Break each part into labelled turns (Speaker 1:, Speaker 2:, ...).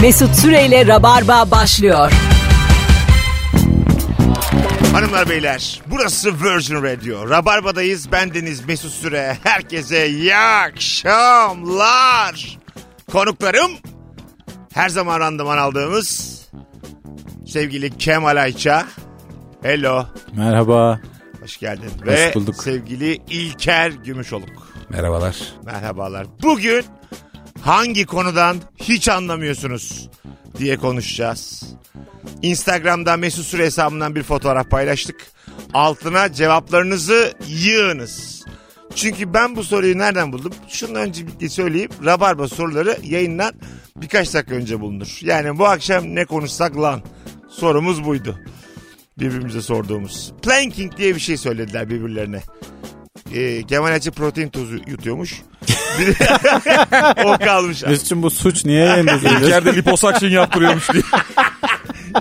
Speaker 1: Mesut Süreyle Rabarba başlıyor.
Speaker 2: Hanımlar beyler burası Virgin Radio. Rabarba'dayız. Ben Deniz Mesut Süre. Herkese iyi akşamlar. Konuklarım her zaman randıman aldığımız sevgili Kemal Ayça. Hello.
Speaker 3: Merhaba.
Speaker 2: Hoş geldin.
Speaker 3: Hoş
Speaker 2: Ve
Speaker 3: bulduk.
Speaker 2: sevgili İlker Gümüşoluk.
Speaker 3: Merhabalar.
Speaker 2: Merhabalar. Bugün hangi konudan hiç anlamıyorsunuz diye konuşacağız. Instagram'da Mesut Süre hesabından bir fotoğraf paylaştık. Altına cevaplarınızı yığınız. Çünkü ben bu soruyu nereden buldum? Şunun önce bir şey söyleyeyim. Rabarba soruları yayından birkaç dakika önce bulunur. Yani bu akşam ne konuşsak lan? Sorumuz buydu. Birbirimize sorduğumuz. Planking diye bir şey söylediler birbirlerine e, Kemal Ayça protein tozu yutuyormuş. Bir de o kalmış.
Speaker 3: Mesut'cum bu suç niye yendiniz?
Speaker 4: İlker de liposuction yaptırıyormuş diye.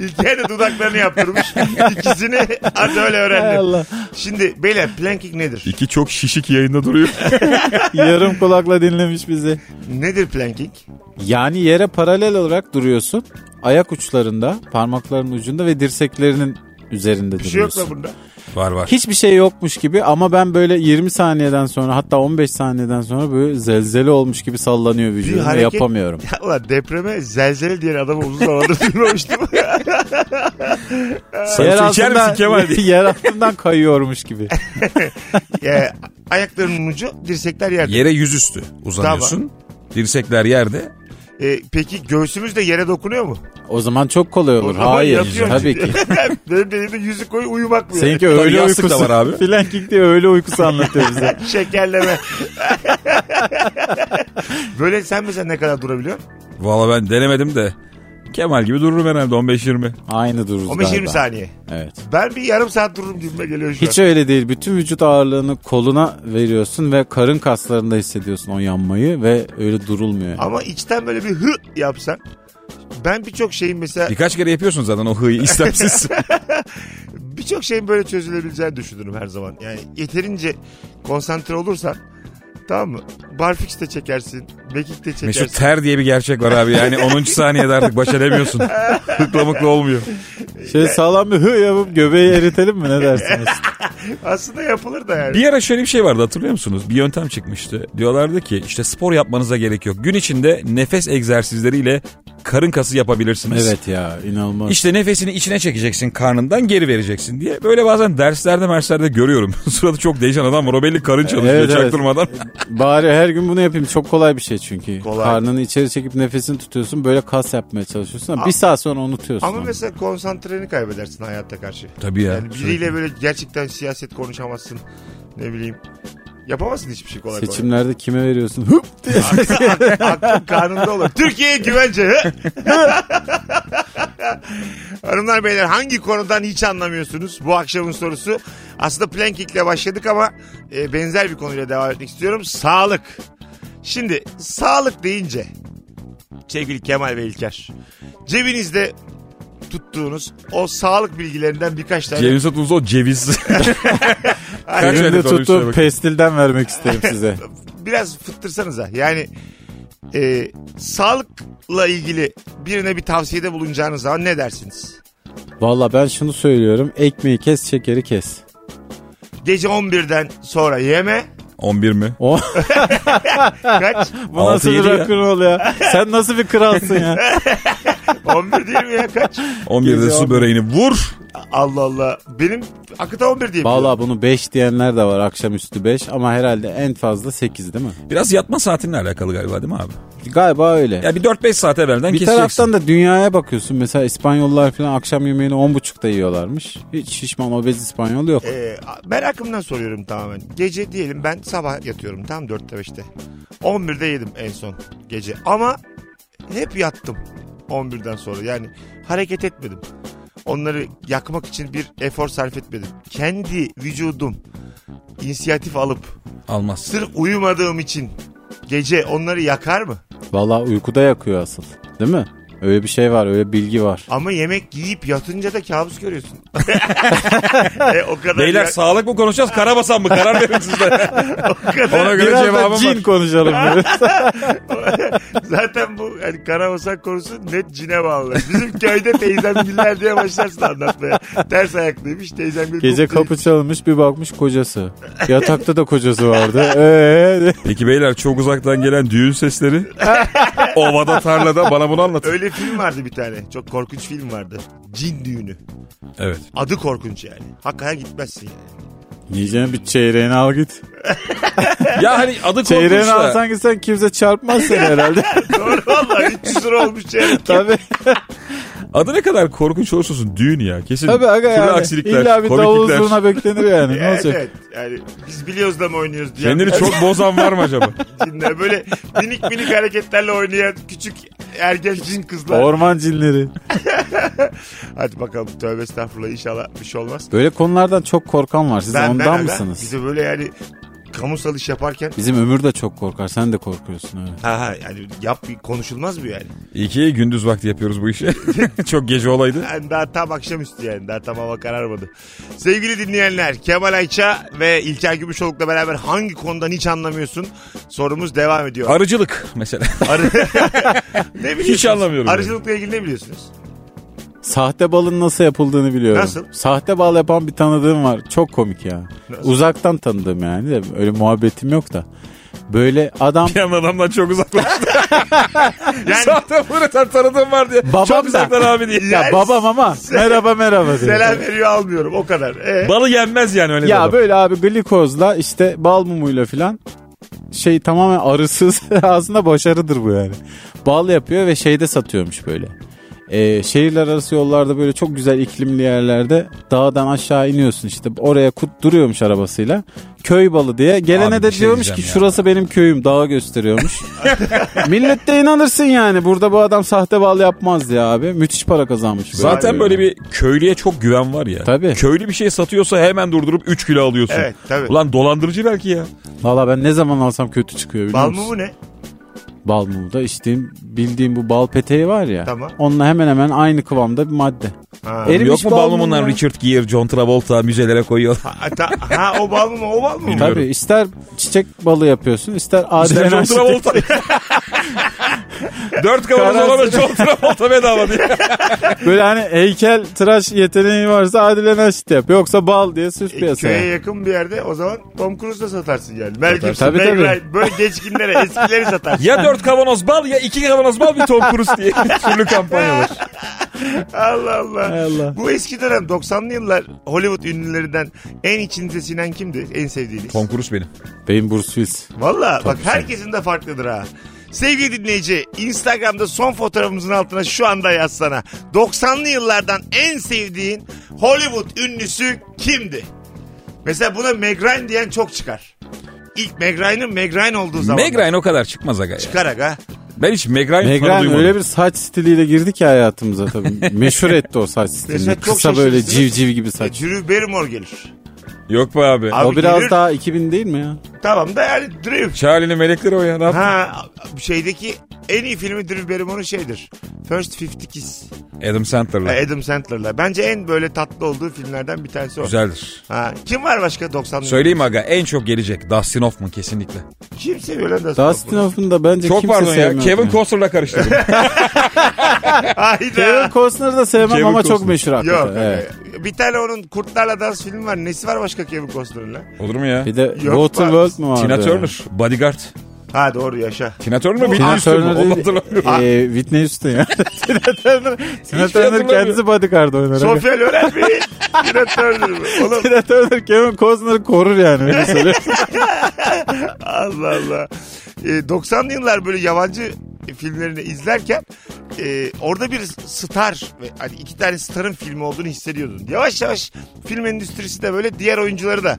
Speaker 2: İlker de dudaklarını yaptırmış. İkisini az öyle öğrendim. Şimdi beyler planking nedir?
Speaker 4: İki çok şişik yayında duruyor.
Speaker 3: Yarım kulakla dinlemiş bizi.
Speaker 2: Nedir planking?
Speaker 3: Yani yere paralel olarak duruyorsun. Ayak uçlarında, parmakların ucunda ve dirseklerinin üzerinde
Speaker 2: Bir şey yok
Speaker 3: duruyorsun.
Speaker 2: da bunda.
Speaker 4: Var var.
Speaker 3: Hiçbir şey yokmuş gibi ama ben böyle 20 saniyeden sonra hatta 15 saniyeden sonra böyle zelzele olmuş gibi sallanıyor
Speaker 2: Bir
Speaker 3: vücudum ve
Speaker 2: hareket.
Speaker 3: yapamıyorum.
Speaker 2: Ya ulan depreme zelzele diyen adamı uzun zamandır duymamıştım.
Speaker 4: Sen su şey içer misin Kemal diye.
Speaker 3: yer altından kayıyormuş gibi.
Speaker 2: E, ayaklarının ucu dirsekler yerde.
Speaker 4: Yere yüzüstü uzanıyorsun. Dirsekler yerde.
Speaker 2: E, peki göğsümüz de yere dokunuyor mu?
Speaker 3: O zaman çok kolay olur.
Speaker 2: zaman
Speaker 3: Hayır.
Speaker 2: yatıyorsun.
Speaker 3: Tabii ki.
Speaker 2: Benim dediğimde yüzü koy uyumak mı?
Speaker 3: Seninki öyle
Speaker 4: yastık da
Speaker 3: uykusu.
Speaker 4: var abi.
Speaker 3: Flanking diye öyle uykusu anlatıyor bize.
Speaker 2: Şekerleme. Böyle sen mesela ne kadar durabiliyorsun?
Speaker 4: Valla ben denemedim de. Kemal gibi dururum herhalde 15-20.
Speaker 3: Aynı dururuz
Speaker 2: 15-20
Speaker 3: galiba.
Speaker 2: saniye.
Speaker 3: Evet.
Speaker 2: Ben bir yarım saat dururum gibime geliyor şu
Speaker 3: Hiç
Speaker 2: an.
Speaker 3: öyle değil. Bütün vücut ağırlığını koluna veriyorsun ve karın kaslarında hissediyorsun o yanmayı ve öyle durulmuyor.
Speaker 2: Ama içten böyle bir hı yapsan. Ben birçok şeyin mesela
Speaker 4: Birkaç kere yapıyorsun zaten o hıyı istemsiz.
Speaker 2: birçok şeyin böyle çözülebileceğini düşünürüm her zaman. Yani yeterince konsantre olursan tamam mı? Barfix de çekersin, Bekik de çekersin.
Speaker 4: Mesut ter diye bir gerçek var abi. Yani 10. saniyede artık baş edemiyorsun. Hıkla mıkla olmuyor.
Speaker 3: Şöyle sağlam bir hı yapıp göbeği eritelim mi ne dersiniz?
Speaker 2: Aslında yapılır da yani.
Speaker 4: Bir ara şöyle bir şey vardı hatırlıyor musunuz? Bir yöntem çıkmıştı. Diyorlardı ki işte spor yapmanıza gerek yok. Gün içinde nefes egzersizleriyle karın kası yapabilirsiniz.
Speaker 3: evet ya inanılmaz.
Speaker 4: İşte nefesini içine çekeceksin karnından geri vereceksin diye. Böyle bazen derslerde merslerde görüyorum. Suratı çok değişen adam var o belli karın çalışıyor
Speaker 3: Evet, evet.
Speaker 4: çaktırmadan.
Speaker 3: Bari her gün bunu yapayım. Çok kolay bir şey çünkü.
Speaker 2: Kolay.
Speaker 3: Karnını içeri çekip nefesini tutuyorsun. Böyle kas yapmaya çalışıyorsun. Ama bir saat sonra unutuyorsun.
Speaker 2: Ama
Speaker 3: onu.
Speaker 2: mesela konsantreni kaybedersin hayatta karşı.
Speaker 4: Tabii ya. Şey,
Speaker 2: Yani biriyle böyle gerçekten siyaset konuşamazsın. Ne bileyim. Yapamazsın hiçbir şey kolay kolay.
Speaker 3: Seçimlerde kime veriyorsun? Hıp diye.
Speaker 2: Aklın karnında olur. Türkiye'ye güvence. hı? Hanımlar beyler hangi konudan hiç anlamıyorsunuz? Bu akşamın sorusu. Aslında plankikle başladık ama e, benzer bir konuyla devam etmek istiyorum. Sağlık. Şimdi sağlık deyince sevgili Kemal ve İlker cebinizde tuttuğunuz o sağlık bilgilerinden birkaç tane
Speaker 4: Ceviz satılmış o ceviz. Kaç
Speaker 3: Elimde
Speaker 4: adet olmuş
Speaker 3: tuttuğum
Speaker 4: şuna bak.
Speaker 3: pestilden vermek isterim size.
Speaker 2: biraz fıttırsanıza. Yani e, sağlıkla ilgili birine bir tavsiyede bulunacağınız zaman ne dersiniz?
Speaker 3: Valla ben şunu söylüyorum. Ekmeği kes, şekeri kes.
Speaker 2: Gece 11'den sonra yeme.
Speaker 4: 11 mi?
Speaker 3: O
Speaker 2: Kaç?
Speaker 3: Bu nasıl bir
Speaker 4: 6-7 ya.
Speaker 3: rock'n'roll ya? Sen nasıl bir kralsın ya?
Speaker 2: 11 değil mi ya kaç?
Speaker 4: 11'de
Speaker 3: Gece
Speaker 4: su
Speaker 3: 11.
Speaker 4: böreğini vur.
Speaker 2: Allah Allah. Benim akıta 11 diyeyim.
Speaker 3: Valla bunu 5 diyenler de var akşamüstü 5 ama herhalde en fazla 8 değil mi?
Speaker 4: Biraz yatma saatinle alakalı galiba değil mi abi?
Speaker 3: Galiba öyle.
Speaker 4: Ya bir 4-5 saat evvelden
Speaker 3: bir
Speaker 4: keseceksin.
Speaker 3: taraftan da dünyaya bakıyorsun mesela İspanyollar falan akşam yemeğini 10.30'da yiyorlarmış. Hiç şişman obez İspanyol yok.
Speaker 2: Ee, ben aklımdan soruyorum tamamen. Gece diyelim ben sabah yatıyorum tam 4'te 5'te. 11'de yedim en son gece. Ama hep yattım 11'den sonra. Yani hareket etmedim. Onları yakmak için bir efor sarf etmedim. Kendi vücudum inisiyatif alıp
Speaker 4: Almaz.
Speaker 2: sırf uyumadığım için gece onları yakar mı?
Speaker 3: Valla uykuda yakıyor asıl değil mi? Öyle bir şey var öyle bilgi var.
Speaker 2: Ama yemek yiyip yatınca da kabus görüyorsun. e, o kadar
Speaker 4: Beyler
Speaker 2: ya-
Speaker 4: sağlık mı konuşacağız karabasan mı? Karar verin sizler.
Speaker 2: o kadar-
Speaker 4: Ona göre
Speaker 3: Biraz da
Speaker 4: cevabım
Speaker 3: cin
Speaker 4: var.
Speaker 3: konuşalım. biraz.
Speaker 2: Zaten bu yani karabasan konusu net cine bağlı. Bizim köyde teyzemgiller diye başlarsın anlatmaya. Ters ayaklıymış teyzemgil.
Speaker 3: Gece kapı çalınmış bir bakmış kocası. Yatakta da kocası vardı. Ee,
Speaker 4: Peki beyler çok uzaktan gelen düğün sesleri. Ovada tarlada bana bunu anlatın.
Speaker 2: Öyle film vardı bir tane. Çok korkunç film vardı. Cin düğünü.
Speaker 4: Evet.
Speaker 2: Adı korkunç yani. Hakikaten gitmezsin yani.
Speaker 3: Yiyeceğine bir çeyreğini al git.
Speaker 4: Ya hani adı korkunç
Speaker 3: Çeyreğini
Speaker 4: da.
Speaker 3: alsan gitsen kimse çarpmaz seni herhalde.
Speaker 2: Doğru valla 300 lira olmuş yani.
Speaker 3: Tabii.
Speaker 4: Adı ne kadar korkunç olursa olsun düğün ya. Kesin
Speaker 3: Tabii aga
Speaker 4: türlü
Speaker 3: yani.
Speaker 4: aksilikler,
Speaker 3: İlla bir davul
Speaker 4: komiklikler.
Speaker 3: zurna beklenir yani. Ne
Speaker 2: Evet,
Speaker 3: olacak?
Speaker 2: evet. Yani biz biliyoruz da mı oynuyoruz diye.
Speaker 4: Kendini çok bozan var mı acaba?
Speaker 2: cinler. Böyle minik minik hareketlerle oynayan küçük ergen cin kızlar.
Speaker 3: Orman cinleri.
Speaker 2: Hadi bakalım tövbe estağfurullah inşallah bir şey olmaz.
Speaker 3: Böyle konulardan çok korkan var. Siz ondan
Speaker 2: aga,
Speaker 3: mısınız?
Speaker 2: Bize böyle yani kamusal iş yaparken
Speaker 3: Bizim ömür de çok korkar. Sen de korkuyorsun öyle.
Speaker 2: ha ha yani yap konuşulmaz mı yani?
Speaker 4: İyi ki gündüz vakti yapıyoruz bu işi. Çok gece olaydı.
Speaker 2: Yani daha tam akşamüstü yani daha tam hava kararmadı. Sevgili dinleyenler Kemal Ayça ve İlker Gümüşoluk'la beraber hangi konudan hiç anlamıyorsun sorumuz devam ediyor.
Speaker 4: Arıcılık mesela.
Speaker 2: Arı- ne biliyorsunuz?
Speaker 4: Hiç anlamıyorum yani.
Speaker 2: Arıcılıkla ilgili ne biliyorsunuz?
Speaker 3: Sahte balın nasıl yapıldığını biliyorum.
Speaker 2: Nasıl?
Speaker 3: Sahte bal yapan bir tanıdığım var. Çok komik ya.
Speaker 2: Nasıl?
Speaker 3: Uzaktan tanıdığım yani de öyle muhabbetim yok da. Böyle adam
Speaker 4: Bir an adamdan çok uzaklaştı.
Speaker 2: Yani-
Speaker 4: Zaten böyle tam tanıdığım var diye.
Speaker 3: Babam
Speaker 4: çok
Speaker 3: da.
Speaker 4: uzaktan abi diye.
Speaker 3: ya babam ama merhaba merhaba diyor.
Speaker 2: Selam veriyor almıyorum o kadar. Ee,
Speaker 4: Balı yenmez yani öyle
Speaker 3: Ya
Speaker 4: babam.
Speaker 3: böyle abi glikozla işte bal mumuyla filan şey tamamen arısız aslında başarıdır bu yani. Bal yapıyor ve şeyde satıyormuş böyle. Ee, şehirler arası yollarda böyle çok güzel iklimli yerlerde dağdan aşağı iniyorsun işte oraya kut duruyormuş arabasıyla köy balı diye gelene
Speaker 4: Abi
Speaker 3: de
Speaker 4: bir şey
Speaker 3: diyormuş ki
Speaker 4: diyeceğim ya.
Speaker 3: şurası benim köyüm dağa gösteriyormuş millet de inanırsın yani burada bu adam sahte bal yapmaz diye abi müthiş para kazanmış
Speaker 4: Zaten böyle bir köylüye çok güven var ya.
Speaker 3: Tabii.
Speaker 4: Köylü bir şey satıyorsa hemen durdurup 3 kilo alıyorsun.
Speaker 2: Evet, tabii.
Speaker 4: Ulan dolandırıcı belki ya.
Speaker 3: valla ben ne zaman alsam kötü çıkıyor biliyor
Speaker 2: bal
Speaker 3: musun?
Speaker 2: mumu ne?
Speaker 3: Bal mumu da içtiğim bildiğim bu bal peteği var ya.
Speaker 2: Tamam.
Speaker 3: Onunla hemen hemen aynı kıvamda bir madde.
Speaker 2: Ha.
Speaker 3: Erimiş
Speaker 4: Yok mu
Speaker 3: bal
Speaker 4: bal
Speaker 3: mumu
Speaker 4: mumundan
Speaker 3: ya?
Speaker 4: Richard Gere, John Travolta müzelere koyuyor.
Speaker 2: Ha, ta- ha, o bal mumu o bal mumu.
Speaker 4: Bilmiyorum.
Speaker 3: Tabii ister çiçek balı yapıyorsun ister
Speaker 4: İşte John
Speaker 3: adrenalin.
Speaker 4: Travolta. Dört kavanoz
Speaker 3: Karantina.
Speaker 4: olana John Travolta bedava diye.
Speaker 3: Böyle hani heykel tıraş yeteneği varsa Adile Naşit yap. Yoksa bal diye süs
Speaker 2: E,
Speaker 3: piyasaya.
Speaker 2: Köye yakın bir yerde o zaman Tom Cruise da satarsın yani. Mel Gibson,
Speaker 3: Tabii,
Speaker 2: Meg
Speaker 3: tabii.
Speaker 2: Ryan, böyle geçkinlere eskileri satarsın.
Speaker 4: Ya dört kavanoz bal ya iki kavanoz bal bir Tom Cruise diye. Türlü kampanyalar.
Speaker 2: Allah Allah.
Speaker 3: Hay Allah.
Speaker 2: Bu eski dönem 90'lı yıllar Hollywood ünlülerinden en içinize sinen kimdi? En sevdiğiniz.
Speaker 4: Tom Cruise benim.
Speaker 3: Benim Bruce Willis.
Speaker 2: Valla bak herkesin de farklıdır ha. Sevgili dinleyici Instagram'da son fotoğrafımızın altına şu anda yazsana. 90'lı yıllardan en sevdiğin Hollywood ünlüsü kimdi? Mesela buna Meg Ryan diyen çok çıkar. İlk Meg Ryan'ın Meg Ryan olduğu zaman.
Speaker 4: Meg Ryan o kadar çıkmaz aga ya.
Speaker 2: Çıkar aga.
Speaker 4: Ben hiç Meg Ryan
Speaker 3: Meg
Speaker 4: fanı
Speaker 3: Ryan
Speaker 4: duymadım.
Speaker 3: öyle bir saç stiliyle girdi ki hayatımıza tabii. Meşhur etti o saç
Speaker 2: Mesela
Speaker 3: stilini.
Speaker 2: çok
Speaker 3: Kısa böyle
Speaker 2: şaşırtıcı.
Speaker 3: civciv gibi
Speaker 2: E,
Speaker 3: saç.
Speaker 2: Drew Barrymore gelir.
Speaker 4: Yok be abi.
Speaker 2: Abi
Speaker 3: O biraz
Speaker 2: gelir.
Speaker 3: daha 2000 değil mi ya?
Speaker 2: Tamam da yani Drew.
Speaker 4: Charlie'nin melekleri o ya. Ne yaptın?
Speaker 2: Ha şeydeki en iyi filmi Drew Barrymore'un şeydir. First 50 Kiss.
Speaker 4: Adam Sandler'la.
Speaker 3: E,
Speaker 2: Adam Sandler'la. Bence en böyle tatlı olduğu filmlerden bir tanesi o.
Speaker 4: Güzeldir.
Speaker 2: Ha, kim var başka
Speaker 3: e.
Speaker 2: 90'lı?
Speaker 4: Söyleyeyim aga en çok gelecek Dustin Hoffman kesinlikle.
Speaker 2: Kim seviyor lan Dustin
Speaker 3: Dustin
Speaker 2: Hoffman'ı?
Speaker 3: Hoffman da bence
Speaker 4: Çok
Speaker 3: kimse
Speaker 4: pardon ya
Speaker 3: sevmiyor.
Speaker 4: Kevin Costner'la karıştırdım.
Speaker 2: Hayda.
Speaker 3: Kevin Costner'ı da sevmem
Speaker 4: Kevin
Speaker 3: ama çok
Speaker 4: Costner.
Speaker 3: meşhur hakikaten.
Speaker 2: Yok.
Speaker 3: Evet.
Speaker 2: Bir tane onun Kurtlarla Dans filmi var. Nesi var başka Kevin Costner'ın lan?
Speaker 4: Olur mu ya?
Speaker 3: Bir de
Speaker 2: Yok
Speaker 3: Waterworld mu vardı?
Speaker 4: Tina Turner, Bodyguard.
Speaker 2: Ha doğru yaşa.
Speaker 4: Tina Turner mı? Whitney
Speaker 3: Tina
Speaker 4: Houston mu?
Speaker 3: Turner
Speaker 4: Onu
Speaker 3: değil,
Speaker 4: hatırlamıyorum.
Speaker 3: e, Whitney Houston ya. Tina Turner, Tina Turner
Speaker 4: hatırlamıyorum.
Speaker 3: kendisi bodyguard oynar. Hani
Speaker 2: Sofya Loren mi? Tina Turner mi? Oğlum
Speaker 3: Tina Turner Kevin Costner'ı korur yani. Öyle söylüyor.
Speaker 2: Allah Allah. Ee, 90'lı yıllar böyle yabancı filmlerini izlerken e, orada bir star ve hani iki tane starın filmi olduğunu hissediyordun. Yavaş yavaş film endüstrisi de böyle diğer oyuncuları da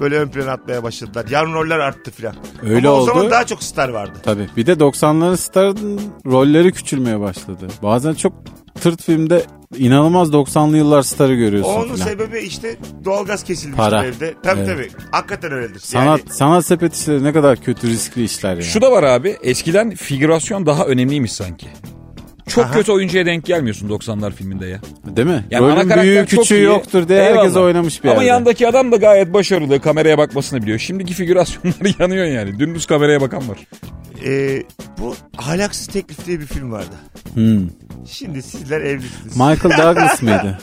Speaker 2: böyle ön plana atmaya başladılar. Yan roller arttı filan.
Speaker 3: Öyle
Speaker 2: Ama o
Speaker 3: oldu.
Speaker 2: zaman daha çok star vardı.
Speaker 3: Tabii. Bir de 90'ların starın rolleri küçülmeye başladı. Bazen çok tırt filmde inanılmaz 90'lı yıllar starı görüyorsun.
Speaker 2: Onun
Speaker 3: filan.
Speaker 2: sebebi işte doğalgaz kesilmişti
Speaker 3: Para.
Speaker 2: evde. Tabii
Speaker 3: Evet.
Speaker 2: tabii. Hakikaten öyledir.
Speaker 3: Sanat,
Speaker 2: Yani,
Speaker 3: sanat sepet işleri ne kadar kötü riskli işler yani.
Speaker 4: Şu da var abi eskiden figürasyon daha önemliymiş sanki. Çok
Speaker 2: Aha.
Speaker 4: kötü oyuncuya denk gelmiyorsun 90'lar filminde ya.
Speaker 3: Değil mi?
Speaker 4: Yani ana
Speaker 3: Rolün
Speaker 4: karakter
Speaker 3: büyüğü
Speaker 4: çok
Speaker 3: küçüğü
Speaker 4: iyi.
Speaker 3: yoktur diye herkes
Speaker 4: Eyvallah.
Speaker 3: oynamış bir
Speaker 4: Ama
Speaker 3: yerde.
Speaker 4: yandaki adam da gayet başarılı. Kameraya bakmasını biliyor. Şimdiki figürasyonlar yanıyor yani. Dümdüz kameraya bakan var.
Speaker 2: Ee, bu Ahlaksız Teklif diye bir film vardı.
Speaker 3: Hmm.
Speaker 2: Şimdi sizler evlisiniz.
Speaker 3: Michael Douglas mıydı?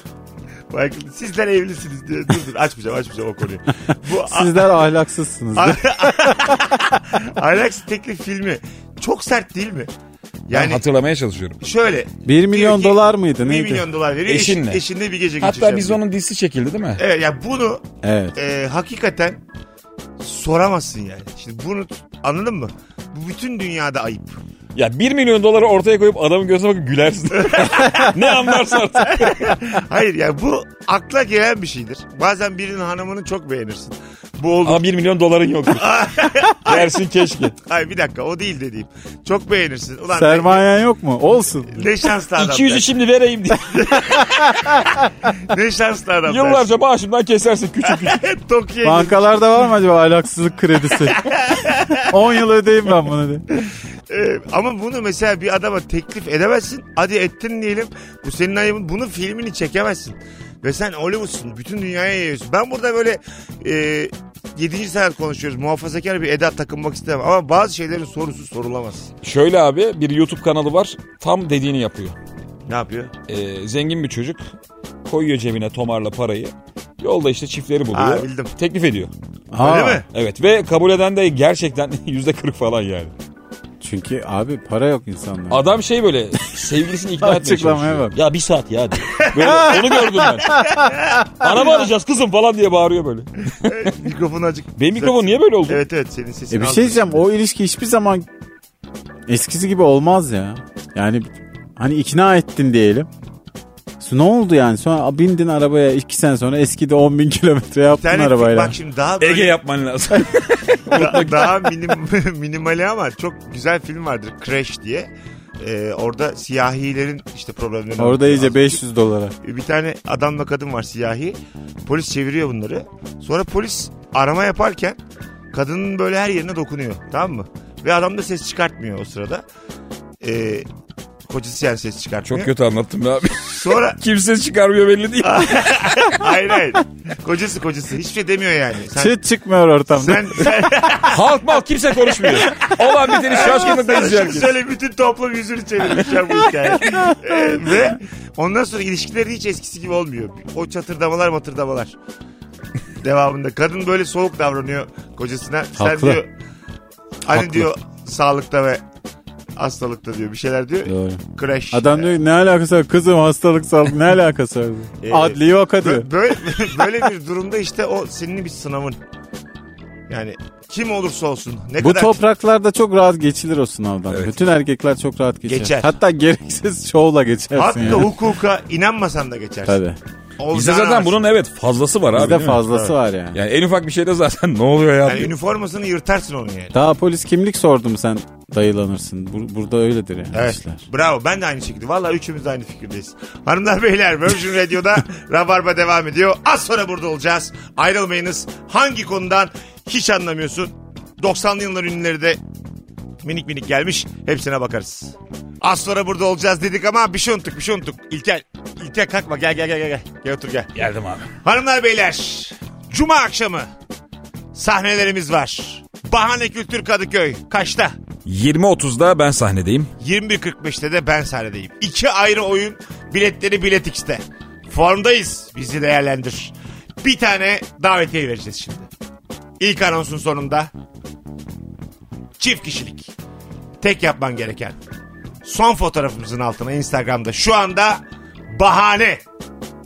Speaker 2: Michael, sizler evlisiniz diye. Dur dur açmayacağım açmayacağım o konuyu. Bu a-
Speaker 3: Sizler ahlaksızsınız.
Speaker 2: A- Ahlaksız Teklif filmi çok sert değil mi?
Speaker 4: Yani
Speaker 2: Yani
Speaker 4: hatırlamaya çalışıyorum.
Speaker 2: şöyle.
Speaker 3: 1 milyon
Speaker 2: diyor ki,
Speaker 3: dolar mıydı
Speaker 2: 1
Speaker 3: neydi?
Speaker 2: milyon dolar veriyor. Eşin-
Speaker 4: Eşinle.
Speaker 2: eşinle bir gece geçeceğim.
Speaker 4: Hatta biz onun dizisi çekildi değil mi?
Speaker 2: Evet ya bunu
Speaker 3: Evet.
Speaker 2: e, hakikaten soramazsın yani. Şimdi bunu anladın mı? Bu bütün dünyada ayıp.
Speaker 4: Ya 1 milyon doları ortaya koyup adamın gözüne bakıp gülersin. ne anlarsa artık.
Speaker 2: Hayır yani bu akla gelen bir şeydir. Bazen birinin hanımını çok beğenirsin. Bu oldu.
Speaker 4: Ama 1 milyon doların yoktur. Dersin keşke.
Speaker 2: Ay bir dakika o değil dediğim. Çok beğenirsin. Ulan
Speaker 3: Sermayen yok mu? Olsun.
Speaker 2: ne, ne şanslı adam.
Speaker 4: 200'ü şimdi vereyim diye.
Speaker 2: der. Ne şanslı adam. der.
Speaker 4: Yıllarca maaşımdan kesersin küçük küçük.
Speaker 2: Hep Tokyo'ya gir.
Speaker 3: Bankalarda var mı acaba ahlaksızlık kredisi? 10 yıl ödeyeyim ben bunu diye.
Speaker 2: Ee, ama bunu mesela bir adama teklif edemezsin. Hadi ettin diyelim. Bu senin ayıbın. Bunun filmini çekemezsin. Ve sen Hollywood'sun. Bütün dünyaya yayıyorsun. Ben burada böyle e, 7. sanat konuşuyoruz. Muhafazakar bir eda takınmak istemem. Ama bazı şeylerin sorusu sorulamaz.
Speaker 4: Şöyle abi bir YouTube kanalı var. Tam dediğini yapıyor.
Speaker 2: Ne yapıyor?
Speaker 4: Ee, zengin bir çocuk koyuyor cebine tomarla parayı. Yolda işte çiftleri buluyor.
Speaker 2: Aa, bildim.
Speaker 4: Teklif ediyor.
Speaker 3: Ha,
Speaker 2: Öyle mi?
Speaker 4: Evet ve kabul eden de gerçekten yüzde kırk falan yani.
Speaker 3: Çünkü abi para yok insanlarda.
Speaker 4: Adam şey böyle sevgilisini ikna etmeye
Speaker 3: Açıklamaya
Speaker 4: çalışıyor.
Speaker 3: bak.
Speaker 4: Ya bir saat ya diyor. Böyle, onu gördüm ben. Araba arayacağız kızım falan diye bağırıyor böyle.
Speaker 2: Mikrofonu acık.
Speaker 4: Benim mikrofon niye böyle oldu?
Speaker 2: Evet evet senin sesin.
Speaker 3: E bir şey diyeceğim o ilişki hiçbir zaman eskisi gibi olmaz ya. Yani hani ikna ettin diyelim. So- Ne oldu yani? Sonra bindin arabaya iki sene sonra eskidi 10 bin kilometre yaptın
Speaker 2: arabayla.
Speaker 3: arabayla.
Speaker 2: Bak şimdi daha böyle-
Speaker 4: Ege yapman lazım.
Speaker 2: Da- daha minim, minimali ama çok güzel film vardır Crash diye. Ee, orada siyahilerin işte problemleri.
Speaker 3: Orada iyice 500 dolara.
Speaker 2: Bir tane adamla kadın var siyahi. Polis çeviriyor bunları. Sonra polis arama yaparken kadının böyle her yerine dokunuyor. Tamam mı? Ve adam da ses çıkartmıyor o sırada. Ee, kocası yani ses çıkartmıyor.
Speaker 4: Çok kötü anlattım be abi.
Speaker 2: Sonra
Speaker 4: Kimse çıkarmıyor belli değil.
Speaker 2: hayır hayır. Kocası kocası hiçbir şey demiyor yani. Sen,
Speaker 3: Çıt çıkmıyor ortamda.
Speaker 2: sen, sen,
Speaker 4: Halk mal kimse konuşmuyor. Olan biteni şaşkınlıkla
Speaker 2: Sana
Speaker 4: izliyor
Speaker 2: şunu
Speaker 4: herkes.
Speaker 2: söyle bütün toplum yüzünü çevirmişler bu hikaye. Ee, ve ondan sonra ilişkileri hiç eskisi gibi olmuyor. O çatırdamalar matırdamalar. Devamında kadın böyle soğuk davranıyor kocasına. Sen
Speaker 3: Haklı.
Speaker 2: diyor hani
Speaker 3: Haklı.
Speaker 2: diyor sağlıkta ve hastalıkta diyor bir şeyler diyor.
Speaker 3: Doğru.
Speaker 2: Crash.
Speaker 3: Adam diyor ki, ne alakası var kızım hastalık sağlık ne alakası var?
Speaker 2: Ee,
Speaker 3: Adli yok hadi.
Speaker 2: Bö- böyle, böyle bir durumda işte o senin bir sınavın. Yani kim olursa olsun ne
Speaker 3: Bu
Speaker 2: kadar
Speaker 3: topraklarda çok rahat geçilir o sınavdan.
Speaker 4: Evet.
Speaker 3: Bütün erkekler çok rahat geçer.
Speaker 2: Geçer.
Speaker 3: Hatta gereksiz şovla geçersin
Speaker 2: hatta
Speaker 3: yani.
Speaker 2: hukuka inanmasan da geçersin.
Speaker 3: Tabii.
Speaker 4: Bizde
Speaker 2: Olacağını
Speaker 4: zaten
Speaker 2: ararsın.
Speaker 4: bunun evet fazlası var abi.
Speaker 3: Bizde
Speaker 4: değil mi?
Speaker 3: fazlası var yani.
Speaker 4: Yani en ufak bir şeyde zaten ne oluyor ya?
Speaker 2: Yani üniformasını yırtarsın onun yani.
Speaker 3: Daha polis kimlik sordum sen dayılanırsın. Bu- burada öyledir yani
Speaker 2: Evet.
Speaker 3: işler.
Speaker 2: Bravo. Ben de aynı şekilde. Valla üçümüz de aynı fikirdeyiz. Hanımlar beyler Virgin Radio'da Rabarba devam ediyor. Az sonra burada olacağız. Ayrılmayınız. Hangi konudan hiç anlamıyorsun? 90'lı yıllar ünlüleri de minik minik gelmiş. Hepsine bakarız. Az sonra burada olacağız dedik ama bir şey unuttuk bir şey unuttuk. İlker, İlker kalkma gel gel gel gel. Gel, gel otur gel.
Speaker 4: Geldim abi.
Speaker 2: Hanımlar beyler Cuma akşamı sahnelerimiz var. Bahane Kültür Kadıköy. Kaçta?
Speaker 4: 20.30'da ben sahnedeyim.
Speaker 2: 21.45'te de ben sahnedeyim. İki ayrı oyun biletleri Bilet X'te. Formdayız bizi değerlendir. Bir tane davetiye vereceğiz şimdi. İlk anonsun sonunda çift kişilik. Tek yapman gereken. Son fotoğrafımızın altına Instagram'da şu anda bahane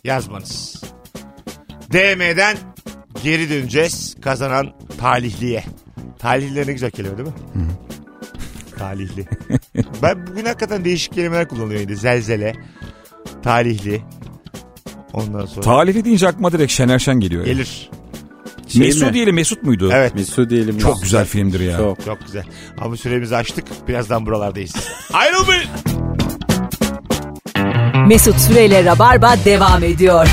Speaker 2: yazmanız. DM'den geri döneceğiz kazanan talihliye. Talihli ne güzel kelime değil mi? Talihli. ben bugün hakikaten değişik kelimeler kullanıyorum. yine. Zelzele, talihli. Ondan sonra
Speaker 4: Talifi deyince aklıma direkt Şener Şen geliyor. ya.
Speaker 2: gelir.
Speaker 3: Şey
Speaker 4: Mesut
Speaker 3: mi?
Speaker 4: diyelim Mesut muydu?
Speaker 2: Evet.
Speaker 3: Mesut diyelim.
Speaker 4: Çok güzel filmdir ya.
Speaker 3: Çok.
Speaker 2: Çok güzel. Ama süremizi açtık. Birazdan buralardayız. Ayrılmayın.
Speaker 1: Mesut Süreyle Rabarba devam ediyor.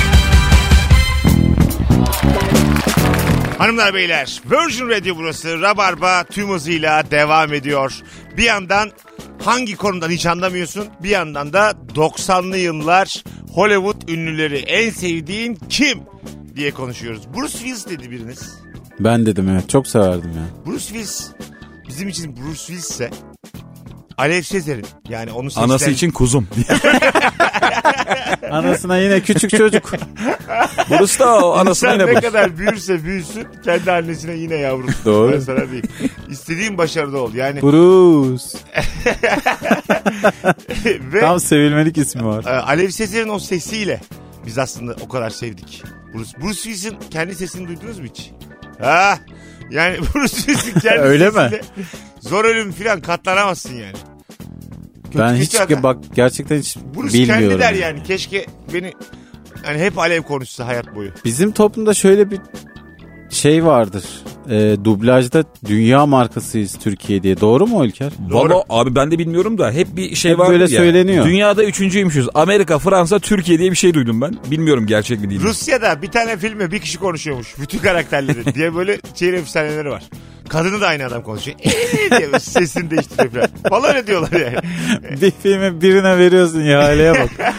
Speaker 2: Hanımlar beyler Virgin Radio burası Rabarba tüm hızıyla devam ediyor. Bir yandan hangi konudan hiç anlamıyorsun? Bir yandan da 90'lı yıllar Hollywood ünlüleri en sevdiğin kim diye konuşuyoruz. Bruce Willis dedi biriniz.
Speaker 3: Ben dedim evet çok severdim ya.
Speaker 2: Bruce Willis bizim için Bruce Willis ise Alev Sezer'in yani onu seçten...
Speaker 4: Anası için kuzum.
Speaker 3: Anasına yine küçük çocuk.
Speaker 4: Burası da o anasına
Speaker 2: Sen
Speaker 4: yine
Speaker 2: ne
Speaker 4: bak.
Speaker 2: kadar büyürsün büyüsün kendi annesine yine yavrusun.
Speaker 3: Doğru.
Speaker 2: Ben sana diyeyim. İstediğin başarıda ol. Yani
Speaker 3: Bruce.
Speaker 2: ve
Speaker 3: Tam sevilmelik ismi var.
Speaker 2: e, Alev Sezer'in o sesiyle biz aslında o kadar sevdik. Bruce, Bruce Willis'in kendi sesini duydunuz mu hiç? Ha? Yani Bruce Willis'in kendi
Speaker 3: Öyle mi?
Speaker 2: sesiyle zor ölüm falan katlanamazsın yani.
Speaker 3: ben
Speaker 2: kötü
Speaker 3: hiç
Speaker 2: adam.
Speaker 3: bak gerçekten hiç
Speaker 2: Bruce
Speaker 3: bilmiyorum.
Speaker 2: kendi der yani keşke beni hani hep Alev konuşsa hayat boyu.
Speaker 3: Bizim toplumda şöyle bir şey vardır. Ee, dublajda dünya markasıyız Türkiye diye. Doğru mu Ülker?
Speaker 4: Valla abi ben de bilmiyorum da hep bir şey
Speaker 3: Hep
Speaker 4: var
Speaker 3: böyle
Speaker 4: ya.
Speaker 3: söyleniyor.
Speaker 4: Dünyada üçüncüymüşüz. Amerika, Fransa, Türkiye diye bir şey duydum ben. Bilmiyorum gerçek mi değil mi?
Speaker 2: Rusya'da bir tane filme bir kişi konuşuyormuş. Bütün karakterleri diye böyle şehir efsaneleri var. Kadını da aynı adam konuşuyor. Eee diye böyle sesini değiştiriyor falan. Falan öyle diyorlar yani.
Speaker 3: bir filmi birine veriyorsun ya aileye bak.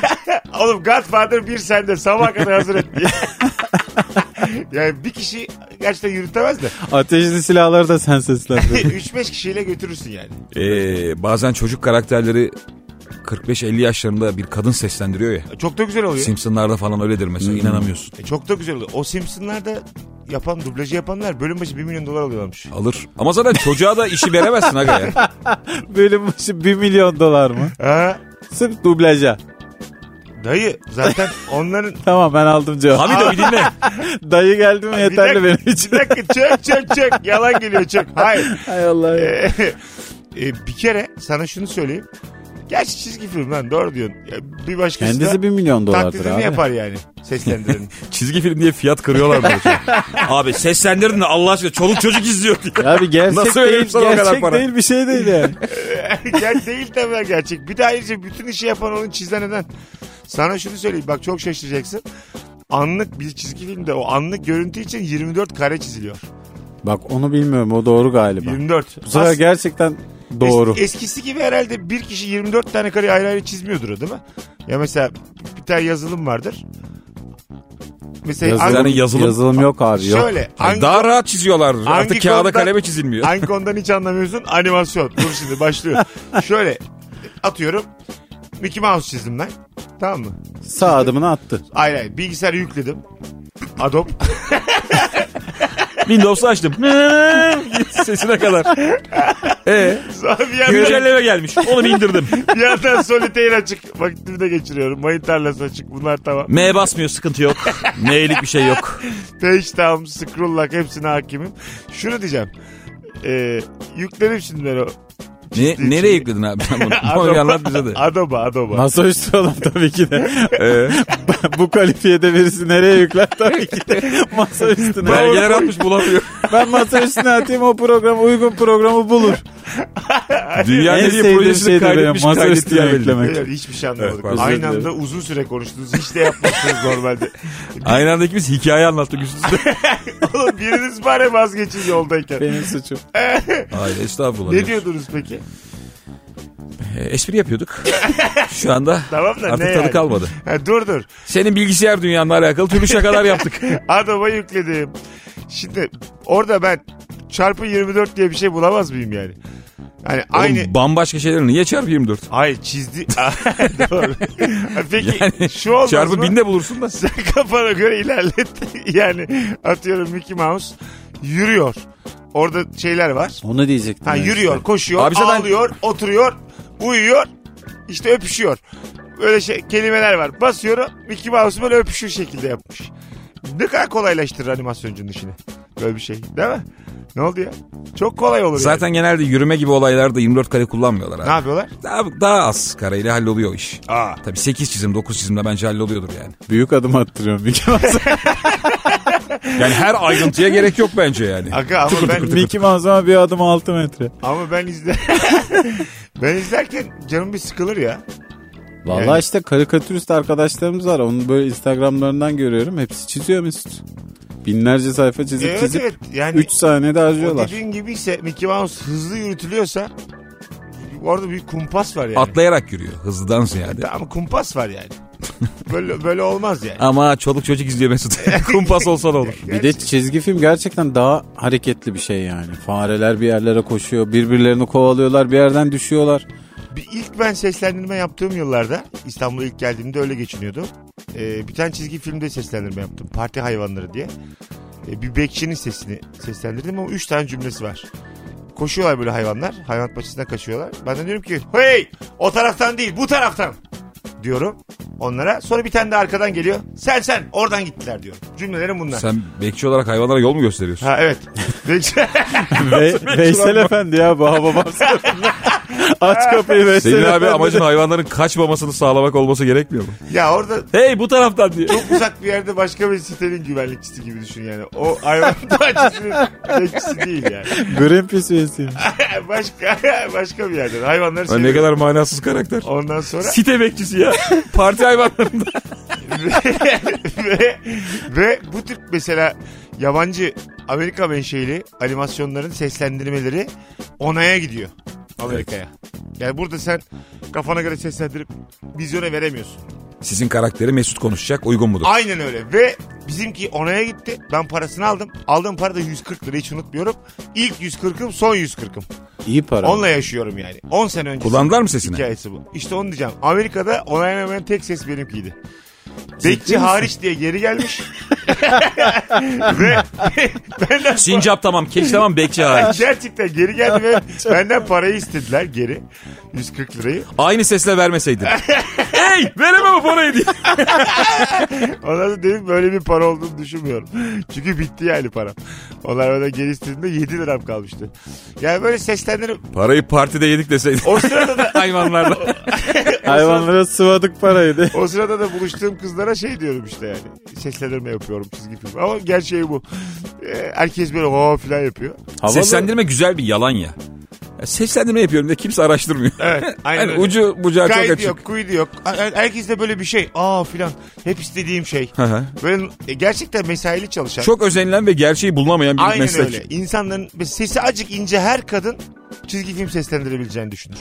Speaker 2: Oğlum Godfather bir sende sabah kadar hazır et diye. yani bir kişi gerçekten yürütemez de.
Speaker 3: Ateşli silahları da sen seslendir.
Speaker 2: 3-5 kişiyle götürürsün yani.
Speaker 4: Ee, bazen çocuk karakterleri 45-50 yaşlarında bir kadın seslendiriyor ya.
Speaker 2: Çok da güzel oluyor.
Speaker 4: Simpsonlarda falan öyledir mesela inanamıyorsun.
Speaker 2: E, çok da güzel oluyor. O Simpsonlarda yapan, dublajı yapanlar bölüm başı 1 milyon dolar alıyorlarmış.
Speaker 4: Alır. Ama zaten çocuğa da işi veremezsin aga ya.
Speaker 3: Bölüm başı 1 milyon dolar mı?
Speaker 2: Ha,
Speaker 3: Sırf dublaja.
Speaker 2: dayı zaten onların
Speaker 3: Tamam ben aldım cevabı.
Speaker 4: Abi de bir dinle.
Speaker 3: Dayı geldi mi yeterli
Speaker 2: bir dakika,
Speaker 3: benim için.
Speaker 2: Bir dakika çök çök çök. Yalan geliyor çök. Hayır.
Speaker 3: Hay Allah ya.
Speaker 2: Ee, e, bir kere sana şunu söyleyeyim. Gerçi çizgi film lan doğru diyorsun. Ya, Bir başkası
Speaker 3: Kendisi
Speaker 2: da
Speaker 3: 1 milyon dolardır
Speaker 2: taklidini
Speaker 3: abi.
Speaker 2: yapar yani seslendirenin.
Speaker 4: Çizgi film diye fiyat kırıyorlar böyle. şey. abi seslendirdin de Allah aşkına çoluk çocuk izliyor diye.
Speaker 3: Ya bir gerçek
Speaker 4: Nasıl
Speaker 3: değil,
Speaker 4: vereyim sana o kadar
Speaker 3: gerçek
Speaker 4: para?
Speaker 3: değil bir şey değil yani.
Speaker 2: Ger değil tabii lan gerçek. Bir de ayrıca bütün işi yapan onun çizen eden. Sana şunu söyleyeyim bak çok şaşıracaksın. Anlık bir çizgi filmde o anlık görüntü için 24 kare çiziliyor.
Speaker 3: Bak onu bilmiyorum o doğru galiba.
Speaker 2: 24.
Speaker 3: Bu sefer gerçekten doğru.
Speaker 2: Es- eskisi gibi herhalde bir kişi 24 tane kareyi ayrı ayrı çizmiyordur o, değil mi? Ya mesela bir tane yazılım vardır. Mesela
Speaker 3: Yazılım,
Speaker 4: Yani
Speaker 2: hangi-
Speaker 4: yazılım-
Speaker 3: yazılım yok abi yok.
Speaker 2: şöyle hangi,
Speaker 4: Daha rahat çiziyorlar. Artık kağıda
Speaker 2: konuda-
Speaker 4: kaleme çizilmiyor.
Speaker 2: hangi konudan hiç anlamıyorsun? Animasyon. Dur şimdi başlıyor. şöyle atıyorum Mickey Mouse çizdim ben. Tamam mı?
Speaker 3: Sağ adımını attı.
Speaker 2: Hayır hayır bilgisayarı yükledim. Adobe.
Speaker 4: Windows'u açtım. Sesine kadar. Ee,
Speaker 2: Sonra bir yandan,
Speaker 4: güncelleme gelmiş. Onu indirdim.
Speaker 2: bir yandan solitaire açık. Vakitimi de geçiriyorum. Mayın tarlası açık. Bunlar tamam.
Speaker 4: M basmıyor sıkıntı yok. M'lik bir şey yok.
Speaker 2: Page down, scroll lock hepsine hakimim. Şunu diyeceğim. Ee, yüklerim şimdi ben o.
Speaker 4: Ne, nereye yükledin abi sen bunu? Bunu bir anlat bize de. Ee,
Speaker 2: Adobe, Adobe.
Speaker 3: Masa üstü oğlum tabii ki de. Bu kalifiyede birisi nereye yükler tabii ki de. Masa üstüne. Ben,
Speaker 4: Belgeler atmış bulamıyor.
Speaker 3: masa üstüne atayım o program uygun programı bulur.
Speaker 4: Dünya
Speaker 3: en
Speaker 4: nereye
Speaker 3: sevdiğim
Speaker 4: projesini
Speaker 3: şey de benim
Speaker 4: kaydetmiş
Speaker 3: masa üstüne
Speaker 4: kaydettiği belli.
Speaker 3: yüklemek.
Speaker 2: Beyler, hiçbir şey anlamadık.
Speaker 4: Evet, pardon.
Speaker 2: Aynı
Speaker 3: Özür dilerim.
Speaker 2: anda uzun süre konuştunuz. Hiç de yapmazsınız normalde.
Speaker 4: Aynı anda ikimiz hikaye anlattık üst üste.
Speaker 2: Oğlum biriniz bari vazgeçin yoldayken.
Speaker 3: Benim suçum.
Speaker 4: Hayır estağfurullah.
Speaker 2: ne diyordunuz peki?
Speaker 4: Ee, espri yapıyorduk. Şu anda
Speaker 2: Tamam da
Speaker 4: artık
Speaker 2: ne
Speaker 4: tadı
Speaker 2: yani?
Speaker 4: kalmadı.
Speaker 2: Ha, dur dur.
Speaker 4: Senin bilgisayar dünyanla alakalı türlü şakalar yaptık.
Speaker 2: Adobe'a yükledim. Şimdi orada ben çarpı 24 diye bir şey bulamaz mıyım yani? Hani aynı...
Speaker 4: Oğlum, bambaşka şeyler niye çarpı 24?
Speaker 2: Hayır çizdi. Doğru. Peki şu olmaz
Speaker 4: Çarpı
Speaker 2: mı?
Speaker 4: binde bulursun da.
Speaker 2: Sen kafana göre ilerlet. yani atıyorum Mickey Mouse yürüyor. Orada şeyler var.
Speaker 3: Onu diyecektim.
Speaker 2: Ha,
Speaker 3: ben
Speaker 2: yürüyor, koşuyor,
Speaker 4: Abi zaten-
Speaker 2: ağlıyor, oturuyor, uyuyor, işte öpüşüyor. Böyle şey, kelimeler var. Basıyorum Mickey Mouse böyle öpüşür şekilde yapmış. Ne kadar kolaylaştırır animasyoncunun işini. Böyle bir şey değil mi? Ne oldu ya? Çok kolay olur yani.
Speaker 4: Zaten genelde yürüme gibi olaylarda 24 kare kullanmıyorlar abi.
Speaker 2: Ne yapıyorlar?
Speaker 4: Daha, daha az kareyle halloluyor iş.
Speaker 2: Aa.
Speaker 4: Tabii 8 çizim 9 çizimde bence halloluyordur yani.
Speaker 3: işte. Büyük adım attırıyorum Mickey Mouse'a.
Speaker 4: Yani her ayrıntıya gerek yok bence yani.
Speaker 2: Aga ama ben
Speaker 3: Mickey Mouse'a bir adım 6 metre.
Speaker 2: ama ben izle ben izlerken canım bir sıkılır ya.
Speaker 3: Valla
Speaker 2: Yani-
Speaker 3: işte karikatürist arkadaşlarımız var. Onu böyle Instagram'larından görüyorum. Hepsi çiziyor Mesut. Binlerce sayfa çizip
Speaker 2: Evet,
Speaker 3: çizip
Speaker 2: evet. Yani-
Speaker 3: 3 saniyede
Speaker 2: O
Speaker 3: harcıyorlar.
Speaker 2: dediğin gibi ise Mickey Mouse hızlı yürütülüyorsa orada bir kumpas var yani.
Speaker 4: Atlayarak yürüyor hızlıdan ziyade.
Speaker 2: Tamam kumpas var yani. böyle böyle olmaz yani.
Speaker 4: Ama çoluk çocuk izliyor Mesut. Kumpas olsa da olur.
Speaker 3: Bir de çizgi film gerçekten daha hareketli bir şey yani. Fareler bir yerlere koşuyor, birbirlerini kovalıyorlar, bir yerden düşüyorlar.
Speaker 2: Bir ilk ben seslendirme yaptığım yıllarda İstanbul'a ilk geldiğimde öyle geçiniyordum. Ee, bir tane çizgi filmde seslendirme yaptım. Parti hayvanları diye. Ee, bir bekçinin sesini seslendirdim ama 3 tane cümlesi var. Koşuyorlar böyle hayvanlar. Hayvanat bahçesine kaçıyorlar. Ben de diyorum ki hey o taraftan değil bu taraftan diyorum onlara. Sonra bir tane de arkadan geliyor. Sen sen oradan gittiler diyor. Cümlelerim bunlar.
Speaker 4: Sen bekçi olarak hayvanlara yol mu gösteriyorsun?
Speaker 2: Ha evet.
Speaker 3: Ve, Veysel Efendi ya bu Hababam sınıfında. Aç kapıyı Veysel
Speaker 4: Senin abi
Speaker 3: Efendi.
Speaker 4: amacın hayvanların kaçmamasını sağlamak olması gerekmiyor mu?
Speaker 2: ya orada
Speaker 4: Hey bu taraftan diye.
Speaker 2: çok uzak bir yerde başka bir sitenin güvenlikçisi gibi düşün yani. O hayvan bahçesinin bekçisi değil yani.
Speaker 3: Greenpeace üyesiyim.
Speaker 2: başka başka bir yerden hayvanları
Speaker 4: Lan ne
Speaker 2: seviyor.
Speaker 4: kadar manasız karakter.
Speaker 2: Ondan sonra
Speaker 4: Site bekçisi ya. Parti hayvanlarında.
Speaker 2: ve, ve bu tür mesela yabancı Amerika menşeili animasyonların seslendirmeleri onaya gidiyor Amerika'ya. Yani burada sen kafana göre seslendirip vizyona veremiyorsun.
Speaker 4: Sizin karakteri Mesut konuşacak uygun mudur?
Speaker 2: Aynen öyle ve bizimki onaya gitti. Ben parasını aldım. Aldığım para da 140 lira hiç unutmuyorum. İlk 140'ım son 140'ım.
Speaker 3: İyi para.
Speaker 2: Onunla yaşıyorum yani. 10 sene önce.
Speaker 4: Kullandılar mı sesini?
Speaker 2: Hikayesi bu. İşte onu diyeceğim. Amerika'da onaylanamayan tek ses benimkiydi. Bekçi hariç diye geri gelmiş. ve benden
Speaker 4: Sincap tamam, keş tamam, bekçi hariç.
Speaker 2: gerçekten geri geldi ve benden parayı istediler geri. 140 lirayı.
Speaker 4: Aynı sesle vermeseydin. hey veremem o parayı diye.
Speaker 2: Ondan sonra dedim böyle bir para olduğunu düşünmüyorum. Çünkü bitti yani param. Onlar bana geri istediğinde 7 liram kalmıştı. Yani böyle seslendirip
Speaker 4: Parayı partide yedik deseydin.
Speaker 2: o sırada da
Speaker 4: Hayvanlarla.
Speaker 3: Hayvanlara sıvadık parayı de.
Speaker 2: O sırada da buluştuğum kızlara şey diyorum işte yani. Seslendirme yapıyorum çizgi film. Ama gerçeği bu. Ee, herkes böyle o falan yapıyor.
Speaker 3: Havalı.
Speaker 4: Seslendirme güzel bir yalan ya. Ya Seslendirme yapıyorum da kimse araştırmıyor.
Speaker 2: Evet. Aynen
Speaker 4: Yani
Speaker 2: öyle.
Speaker 4: ucu bucağı çok
Speaker 2: Kaydı
Speaker 4: açık.
Speaker 2: yok, kuydu yok. Her- Herkes de böyle bir şey. Aa filan. Hep istediğim şey.
Speaker 4: Hı hı.
Speaker 2: böyle e, gerçekten mesaili çalışan.
Speaker 4: Çok özenilen ve gerçeği bulunamayan bir
Speaker 2: Aynen
Speaker 4: meslek.
Speaker 2: öyle. İnsanların ve sesi acık ince her kadın çizgi film seslendirebileceğini düşünür.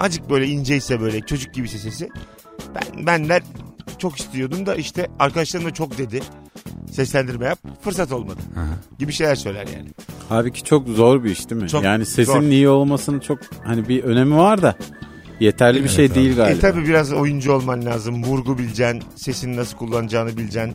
Speaker 2: Acık böyle inceyse böyle çocuk gibiyse sesi. Ben, ben de çok istiyordum da işte arkadaşlarım da çok dedi. Seslendirme yap. Fırsat olmadı. Gibi şeyler söyler yani.
Speaker 3: Abi ki çok zor bir iş değil mi?
Speaker 2: Çok
Speaker 3: yani sesin
Speaker 2: zor.
Speaker 3: iyi olmasının çok hani bir önemi var da yeterli bir şey değil galiba.
Speaker 2: E tabi biraz oyuncu olman lazım. Vurgu bileceksin. Sesini nasıl kullanacağını bileceksin.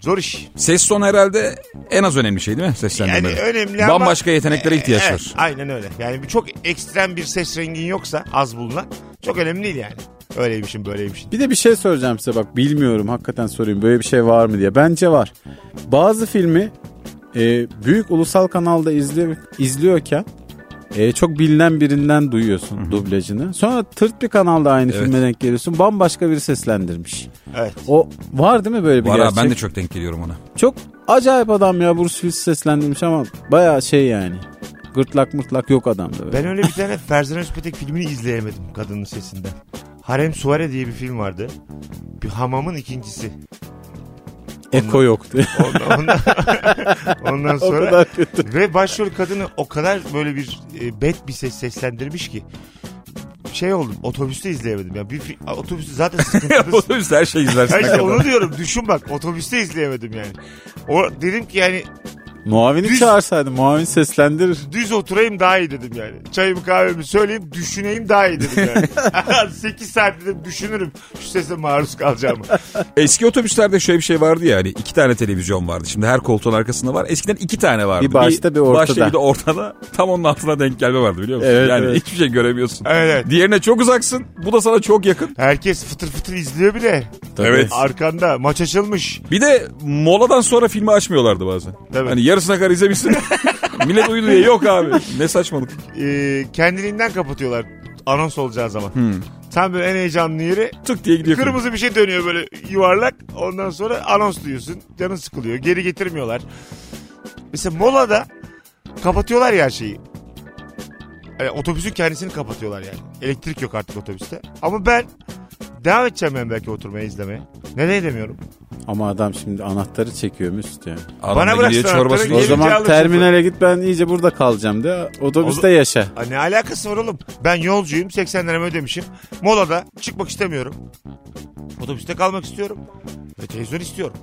Speaker 2: Zor iş.
Speaker 4: Ses son herhalde en az önemli şey değil mi seslendirme?
Speaker 2: Yani önemli ama... E,
Speaker 4: Bambaşka yeteneklere ihtiyaç
Speaker 2: Evet,
Speaker 4: var.
Speaker 2: Aynen öyle. Yani bir çok ekstrem bir ses rengin yoksa az bulunan çok önemli değil yani. Öyleymişim böyleymişim.
Speaker 3: Bir de bir şey soracağım size bak bilmiyorum hakikaten sorayım böyle bir şey var mı diye. Bence var. Bazı filmi e, büyük ulusal kanalda izliyor, izliyorken e, çok bilinen birinden duyuyorsun dublajını. Sonra tırt bir kanalda aynı
Speaker 4: Evet.
Speaker 3: filme denk geliyorsun bambaşka biri seslendirmiş.
Speaker 2: Evet.
Speaker 3: O var değil mi böyle bir
Speaker 4: Var ha,
Speaker 3: gerçek?
Speaker 4: ben de çok denk geliyorum ona.
Speaker 3: Çok acayip adam ya Bruce Willis seslendirmiş ama baya şey yani. Gırtlak mırtlak yok adamda. Böyle.
Speaker 2: Ben öyle bir tane Ferzan Özpetek filmini izleyemedim kadının sesinden. Harem Suare diye bir film vardı. Bir hamamın ikincisi.
Speaker 3: Eko yoktu.
Speaker 2: Ondan, ondan, ondan
Speaker 3: o
Speaker 2: sonra
Speaker 3: kadar kötü.
Speaker 2: Ve başrol kadını o kadar böyle bir e, bet bir ses seslendirmiş ki şey oldum otobüste izleyemedim ya. Bir fi- otobüste zaten sıkıntılı.
Speaker 4: Otobüs her şey izlersin.
Speaker 2: Ya işte
Speaker 4: hakikaten.
Speaker 2: onu diyorum düşün bak otobüste izleyemedim yani. O dedim ki yani
Speaker 3: Muavini
Speaker 2: Düz-
Speaker 3: çağırsaydı muavin seslendirir.
Speaker 2: düz oturayım daha iyi dedim yani. Çayımı kahvemi söyleyeyim düşüneyim daha iyi dedim yani. 8 saat dedim düşünürüm şu sese maruz kalacağımı.
Speaker 4: Eski otobüslerde şöyle bir şey vardı ya hani iki tane televizyon vardı. Şimdi her koltuğun arkasında var. Eskiden iki tane vardı.
Speaker 3: Bir başta, bir
Speaker 4: Başta
Speaker 3: ortada.
Speaker 4: bir de ortada. Tam onun altına denk gelme vardı biliyor musun?
Speaker 3: Evet,
Speaker 4: yani
Speaker 3: evet.
Speaker 4: hiçbir şey göremiyorsun.
Speaker 2: Evet.
Speaker 4: Diğerine çok uzaksın. Bu da sana çok yakın.
Speaker 2: Herkes fıtır fıtır izliyor bile.
Speaker 3: Tabii.
Speaker 4: Evet.
Speaker 2: Arkanda maç açılmış.
Speaker 4: Bir de moladan sonra filmi açmıyorlardı bazen.
Speaker 2: Tabii.
Speaker 4: Hani yarısına kadar izlemişsin. Millet uyudu diye. Yok abi. Ne saçmalık.
Speaker 2: e, kendiliğinden kapatıyorlar anons olacağı zaman. Tam böyle en heyecanlı yeri
Speaker 4: Tık diye gidiyor. film.
Speaker 2: kırmızı bir şey dönüyor böyle yuvarlak. Ondan sonra anons duyuyorsun. Canın sıkılıyor. Geri getirmiyorlar. Mesela molada kapatıyorlar ya her şeyi. Yani otobüsün kendisini kapatıyorlar yani. Elektrik yok artık otobüste. Ama ben devam edeceğim ben belki oturmaya izlemeye. Neden edemiyorum?
Speaker 3: Ama adam şimdi anahtarı çekiyor Mesut ya.
Speaker 4: Adamla
Speaker 2: bıraksın
Speaker 4: gidiyor
Speaker 2: anahtarı,
Speaker 4: çorbasını
Speaker 3: O
Speaker 2: Gelince
Speaker 4: içiyor.
Speaker 3: zaman
Speaker 2: alırsın.
Speaker 3: terminale git ben iyice burada kalacağım de otobüste
Speaker 2: Oğlum-
Speaker 3: yaşa.
Speaker 2: Aa, ne alakası var oğlum? Ben yolcuyum 80 liramı ödemişim. Molada çıkmak istemiyorum. Otobüste kalmak istiyorum. Ve televizyon istiyorum.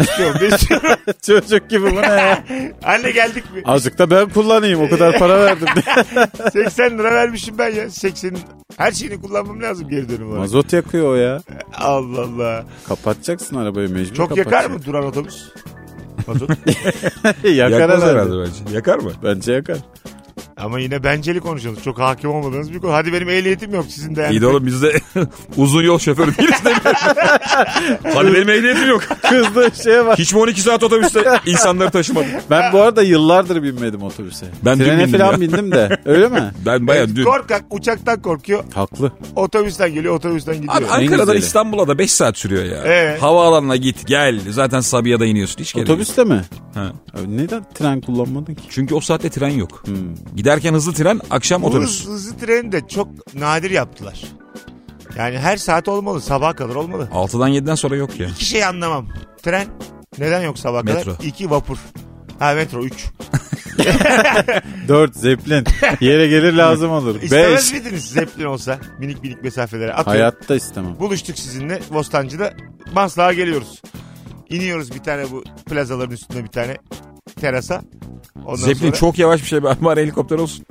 Speaker 2: İstiyorum da istiyorum.
Speaker 3: Çocuk gibi bu ne ya?
Speaker 2: Anne geldik mi?
Speaker 3: Azıcık da ben kullanayım o kadar para verdim.
Speaker 2: 80 lira vermişim ben ya. 80'in her şeyini kullanmam lazım geri dönüm olarak.
Speaker 3: Mazot yakıyor o ya.
Speaker 2: Allah Allah.
Speaker 3: Kapatacaksın arabayı mecbur
Speaker 2: Çok yakar
Speaker 3: kapatacaksın.
Speaker 2: mı duran otobüs? Mazot.
Speaker 3: yakar
Speaker 4: Yakmaz
Speaker 3: herhalde.
Speaker 4: herhalde bence. Yakar mı?
Speaker 3: Bence yakar.
Speaker 2: Ama yine benceli konuşuyorsunuz. Çok hakim olmadığınız bir konu. Hadi benim ehliyetim yok sizin de. yani.
Speaker 4: İyi de oğlum biz de uzun yol şoförü değiliz de. Hadi benim ehliyetim yok.
Speaker 3: Kızdı şeye bak.
Speaker 4: Hiç mi 12 saat otobüste insanları taşımadım?
Speaker 3: Ben bu arada yıllardır binmedim otobüse.
Speaker 4: Ben dün
Speaker 3: Trene
Speaker 4: bindim
Speaker 3: falan
Speaker 4: ya.
Speaker 3: bindim de. Öyle mi?
Speaker 4: Ben bayağı dün.
Speaker 2: Korkak uçaktan korkuyor.
Speaker 3: Haklı.
Speaker 2: Otobüsten geliyor otobüsten gidiyor.
Speaker 4: Abi Ankara'dan
Speaker 3: güzeli.
Speaker 4: İstanbul'a da 5 saat sürüyor ya.
Speaker 2: Ee?
Speaker 4: Havaalanına git gel. Zaten Sabiha'da iniyorsun. Hiç gerek yok.
Speaker 3: Otobüste mi?
Speaker 4: Ha.
Speaker 3: Abi neden tren kullanmadın ki?
Speaker 4: Çünkü o saatte tren yok. Giderken hızlı tren, akşam otobüs.
Speaker 2: Hız, hızlı treni de çok nadir yaptılar. Yani her saat olmalı. Sabah kadar olmalı.
Speaker 4: 6'dan 7'den sonra yok ya.
Speaker 2: İki şey anlamam. Tren neden yok sabah
Speaker 4: Metro.
Speaker 2: kadar? İki vapur. Ha metro 3.
Speaker 3: 4 zeplin. Yere gelir lazım olur.
Speaker 2: İstemez
Speaker 3: 5.
Speaker 2: miydiniz zeplin olsa? Minik minik mesafelere. Atıyorum.
Speaker 3: Hayatta istemem.
Speaker 2: Buluştuk sizinle Bostancı'da. Maslak'a geliyoruz. İniyoruz bir tane bu plazaların üstünde bir tane terasa. Ondan
Speaker 4: Zeplin
Speaker 2: sonra...
Speaker 4: çok yavaş bir şey. Ben bari helikopter olsun.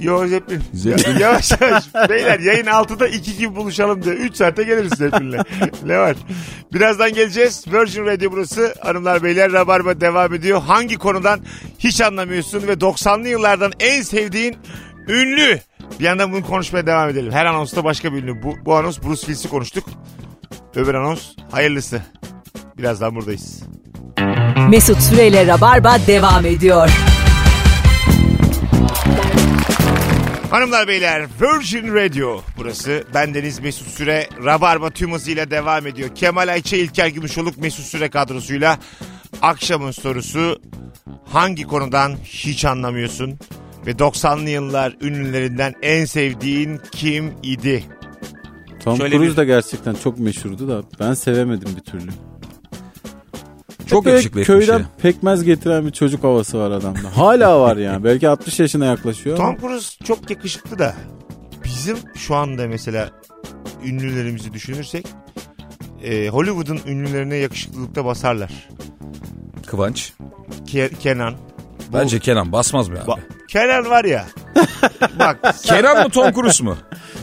Speaker 2: Yo Zeplin.
Speaker 4: Zeplin.
Speaker 2: yavaş yavaş. Beyler yayın 6'da 2 gibi buluşalım diye. 3 saate geliriz Zeplin'le. ne var? Birazdan geleceğiz. Virgin Radio burası. Hanımlar beyler Rabarba devam ediyor. Hangi konudan hiç anlamıyorsun ve 90'lı yıllardan en sevdiğin ünlü. Bir yandan bunu konuşmaya devam edelim. Her anonsta başka bir ünlü. Bu, bu anons Bruce Willis'i konuştuk. Öbür anons hayırlısı. Birazdan buradayız.
Speaker 1: Mesut Süreyle Rabarba devam ediyor.
Speaker 2: Hanımlar beyler Virgin Radio burası. Bendeniz Mesut Süre Rabarba tüm hızıyla devam ediyor. Kemal Ayça İlker Gümüşoluk Mesut Süre kadrosuyla akşamın sorusu hangi konudan hiç anlamıyorsun? Ve 90'lı yıllar ünlülerinden en sevdiğin kim idi?
Speaker 3: Tom
Speaker 2: Şöyle
Speaker 3: Cruise
Speaker 2: bir-
Speaker 3: da gerçekten çok meşhurdu da ben sevemedim bir türlü.
Speaker 4: Çok
Speaker 3: Böyle
Speaker 4: yakışıklı etmiş
Speaker 3: Köyden
Speaker 4: ya.
Speaker 3: pekmez getiren bir çocuk havası var adamda. Hala var yani. Belki 60 yaşına yaklaşıyor.
Speaker 2: Tom Cruise çok yakışıklı da bizim şu anda mesela ünlülerimizi düşünürsek e, Hollywood'un ünlülerine yakışıklılıkta basarlar.
Speaker 4: Kıvanç.
Speaker 2: Ke- Kenan. Bu-
Speaker 4: Bence Kenan basmaz mı abi?
Speaker 2: Bak, Kenan var ya. Bak
Speaker 4: Kenan mı Tom Cruise mu?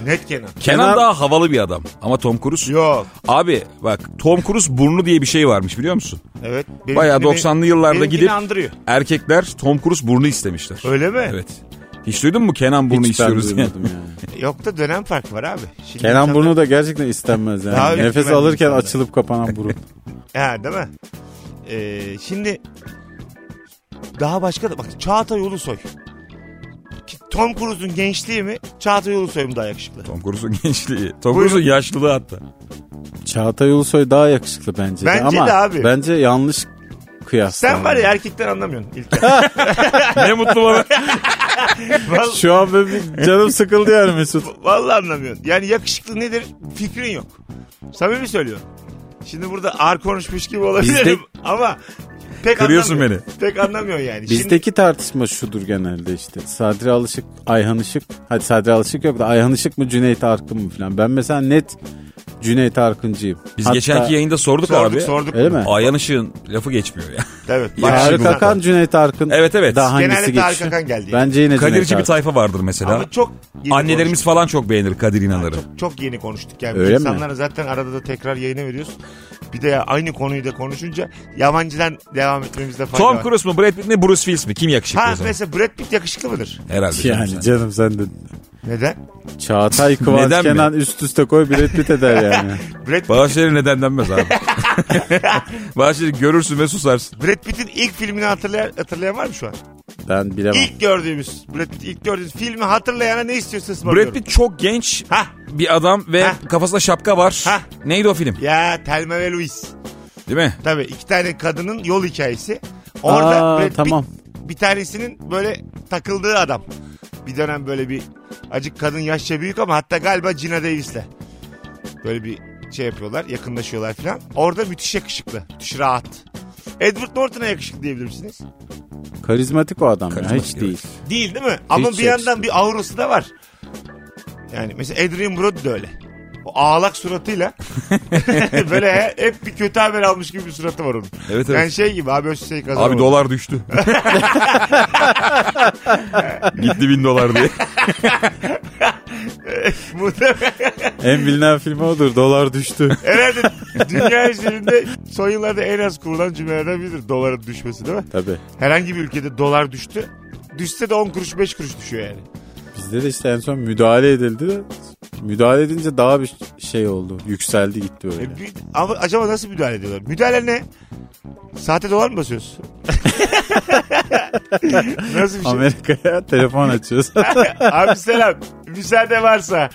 Speaker 2: net Kenan.
Speaker 4: Kenan,
Speaker 3: Kenan-
Speaker 4: daha havalı bir adam. Ama Tom Cruise...
Speaker 2: Yok.
Speaker 4: Abi bak Tom Cruise burnu diye bir şey varmış biliyor musun?
Speaker 2: Evet. Benimkini-
Speaker 4: Bayağı 90'lı yıllarda
Speaker 2: benimkini
Speaker 4: gidip-
Speaker 2: andırıyor.
Speaker 4: Erkekler Tom Cruise burnu istemişler.
Speaker 2: Öyle mi?
Speaker 4: Evet. Hiç duydun mu Kenan burnu
Speaker 3: Hiç ben
Speaker 4: istiyoruz diye?
Speaker 3: duymadım yani.
Speaker 2: Yok da dönem farkı var abi. Şimdi
Speaker 3: Kenan
Speaker 2: insanlar-
Speaker 3: burnu da gerçekten istenmez yani.
Speaker 2: Daha
Speaker 3: Nefes
Speaker 2: ürkümen
Speaker 3: alırken
Speaker 2: insanlar.
Speaker 3: açılıp kapanan burun.
Speaker 2: Ha değil mi? Ee, şimdi daha başka da bak Çağatay Ulusoy. Ki Tom Cruise'un gençliği mi? Çağatay Ulusoy mu daha yakışıklı?
Speaker 4: Tom Cruise'un gençliği. Tom
Speaker 2: Buyurun.
Speaker 4: Cruise'un yaşlılığı hatta.
Speaker 3: Çağatay Ulusoy daha yakışıklı bence,
Speaker 2: Bence
Speaker 3: de ama
Speaker 2: de abi.
Speaker 3: bence yanlış kıyas.
Speaker 2: Sen
Speaker 3: yani.
Speaker 2: var ya erkekten anlamıyorsun İlker.
Speaker 4: ne mutlu bana.
Speaker 2: Vallahi-
Speaker 3: Şu an benim bir canım sıkıldı yani Mesut.
Speaker 2: Vallahi anlamıyorsun. Yani yakışıklı nedir fikrin yok. Samimi söylüyorum. Şimdi burada ağır konuşmuş gibi olabilirim ama pek
Speaker 4: Kırıyorsun
Speaker 2: anlamıyor. Pek anlamıyor yani. Şimdi,
Speaker 3: Bizdeki tartışma şudur genelde işte. Sadri Alışık, Ayhan Işık. Hadi Sadri Alışık yok da Ayhan Işık mı Cüneyt Arkın mı falan. Ben mesela net Cüneyt Arkıncıyım.
Speaker 4: Biz
Speaker 3: Hatta
Speaker 4: geçenki yayında sorduk,
Speaker 2: sorduk
Speaker 4: abi.
Speaker 2: sorduk.
Speaker 3: Öyle mi?
Speaker 4: Ayhan Işık'ın lafı geçmiyor ya.
Speaker 2: Evet.
Speaker 4: Ya,
Speaker 2: şimdi
Speaker 3: Tarık
Speaker 2: zaten.
Speaker 3: Akan, Cüneyt Arkın.
Speaker 4: Evet, evet.
Speaker 3: Daha hangisi
Speaker 2: Genelde Tarık
Speaker 3: geçiyor?
Speaker 2: Akan geldi.
Speaker 3: Bence yine
Speaker 4: Kadirci bir
Speaker 3: Cüneyt Arkın.
Speaker 4: tayfa vardır mesela.
Speaker 2: Ama çok yeni
Speaker 4: Annelerimiz
Speaker 2: konuştuk.
Speaker 4: falan çok beğenir Kadir İnanır'ı.
Speaker 2: çok, çok yeni konuştuk yani.
Speaker 3: Öyle mi?
Speaker 2: İnsanlara zaten arada da tekrar yayına veriyoruz. Bir de ya aynı konuyu da konuşunca yabancıdan devam etmemizde fayda
Speaker 4: Tom
Speaker 2: var.
Speaker 4: Cruise mu Brad Pitt mi Bruce Willis mi? Kim yakışıklı
Speaker 2: Ha
Speaker 4: o zaman?
Speaker 2: mesela Brad Pitt yakışıklı mıdır?
Speaker 4: Herhalde. canım
Speaker 3: Yani
Speaker 4: sen.
Speaker 3: canım sen de
Speaker 2: Neden?
Speaker 3: Çağatay Kıvanç
Speaker 4: Neden mi?
Speaker 3: Kenan üst üste koy Brad Pitt eder yani.
Speaker 2: Brad,
Speaker 4: Bahşişleri şey neden denmez abi. Bahşişleri görürsün ve susarsın.
Speaker 2: Brad Pitt'in ilk filmini hatırlayan, hatırlayan var mı şu an?
Speaker 3: Ben bilemem.
Speaker 2: İlk gördüğümüz Brad Pitt ilk gördüğümüz filmi hatırlayana ne istiyorsa ısmarlıyorum.
Speaker 4: Brad Pitt çok genç
Speaker 2: Hah.
Speaker 4: bir adam ve
Speaker 2: Hah.
Speaker 4: kafasında şapka var.
Speaker 2: Hah.
Speaker 4: Neydi o film?
Speaker 2: Ya Telma ve Louise.
Speaker 4: Değil mi?
Speaker 2: Tabii iki tane kadının yol hikayesi. Orada
Speaker 3: Aa,
Speaker 2: Brad Pitt,
Speaker 3: tamam.
Speaker 2: bir tanesinin böyle takıldığı adam. Bir dönem böyle bir acık kadın yaşça büyük ama hatta galiba Gina Davis'le. Böyle bir şey yapıyorlar yakınlaşıyorlar falan. Orada müthiş yakışıklı. Müthiş rahat. Edward Norton'a yakışıklı diyebilir misiniz?
Speaker 3: Karizmatik o adam ya.
Speaker 4: Karizmatik,
Speaker 3: Hiç
Speaker 4: evet.
Speaker 3: değil.
Speaker 2: Değil değil mi? Ama bir
Speaker 3: yakışıklı.
Speaker 2: yandan bir aurası da var. Yani mesela Adrian Brody de öyle. O ağlak suratıyla böyle he- hep bir kötü haber almış gibi bir suratı var onun.
Speaker 4: Evet, evet.
Speaker 2: Yani şey gibi abi Özsey kazanamadı.
Speaker 4: Abi dolar düştü. Gitti bin dolar diye.
Speaker 2: Muhtemelen-
Speaker 3: En bilinen filmi odur. Dolar düştü.
Speaker 2: Herhalde dünya üzerinde son yıllarda en az kurulan cümlelerden biridir doların düşmesi değil mi?
Speaker 3: Tabii.
Speaker 2: Herhangi bir ülkede dolar düştü. Düşse de 10 kuruş 5 kuruş düşüyor yani.
Speaker 3: Bizde de işte en son müdahale edildi de müdahale edince daha bir şey oldu. Yükseldi gitti öyle.
Speaker 2: E, bir- ama acaba nasıl müdahale ediyorlar? Müdahale ne? Saate dolar mı basıyoruz? nasıl bir şey?
Speaker 3: Amerika'ya telefon açıyoruz.
Speaker 2: Abi selam. Müsaade varsa.